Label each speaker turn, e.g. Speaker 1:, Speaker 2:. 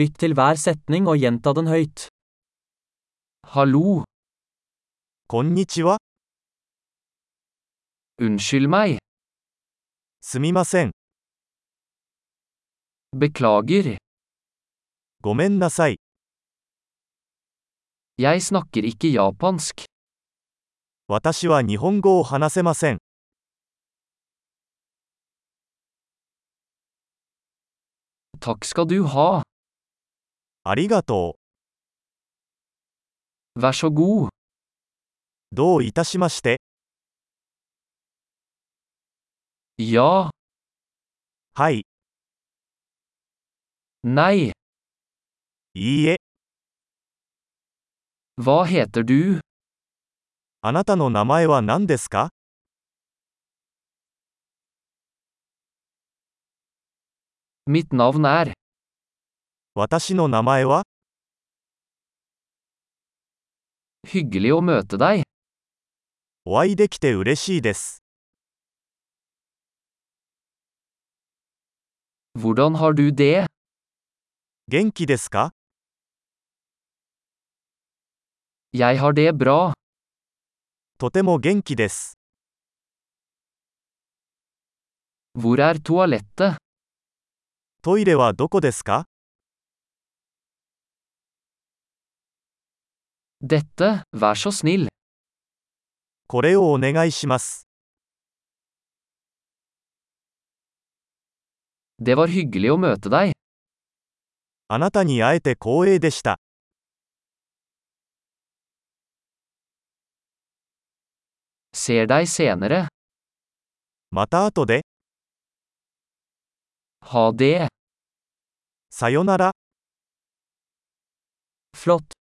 Speaker 1: Lytt til hver setning og gjenta den høyt. Hallo,
Speaker 2: こんにちは。
Speaker 1: unnskyld meg,
Speaker 2: すみません。
Speaker 1: beklager,
Speaker 2: ごめんなさい。
Speaker 1: jeg snakker ikke japansk.
Speaker 2: 私は日本語を話せません。
Speaker 1: Takk skal du ha.
Speaker 2: ありがと
Speaker 1: Vær så god.
Speaker 2: う。どういたしまして。
Speaker 1: Ja,
Speaker 2: はい、
Speaker 1: nei,
Speaker 2: いいえ。
Speaker 1: hva heter du?
Speaker 2: あなたの名前は何ですか
Speaker 1: Mitt navn er.
Speaker 2: 私の名前は
Speaker 1: Hyggelig å møte deg.
Speaker 2: お会いできて嬉しいです。
Speaker 1: Hvordan har du det?
Speaker 2: 元気ですか
Speaker 1: Jeg har det bra.
Speaker 2: とても元気です。
Speaker 1: Hvor er toalettet?
Speaker 2: トイレはどこですか
Speaker 1: Dette, vær så snill.
Speaker 2: これをお願いします。
Speaker 1: Det var hyggelig å møte deg.
Speaker 2: あなたに会えて光栄でした。
Speaker 1: Ser deg senere.
Speaker 2: また後で、
Speaker 1: Ha det.
Speaker 2: さよなら。
Speaker 1: Flott!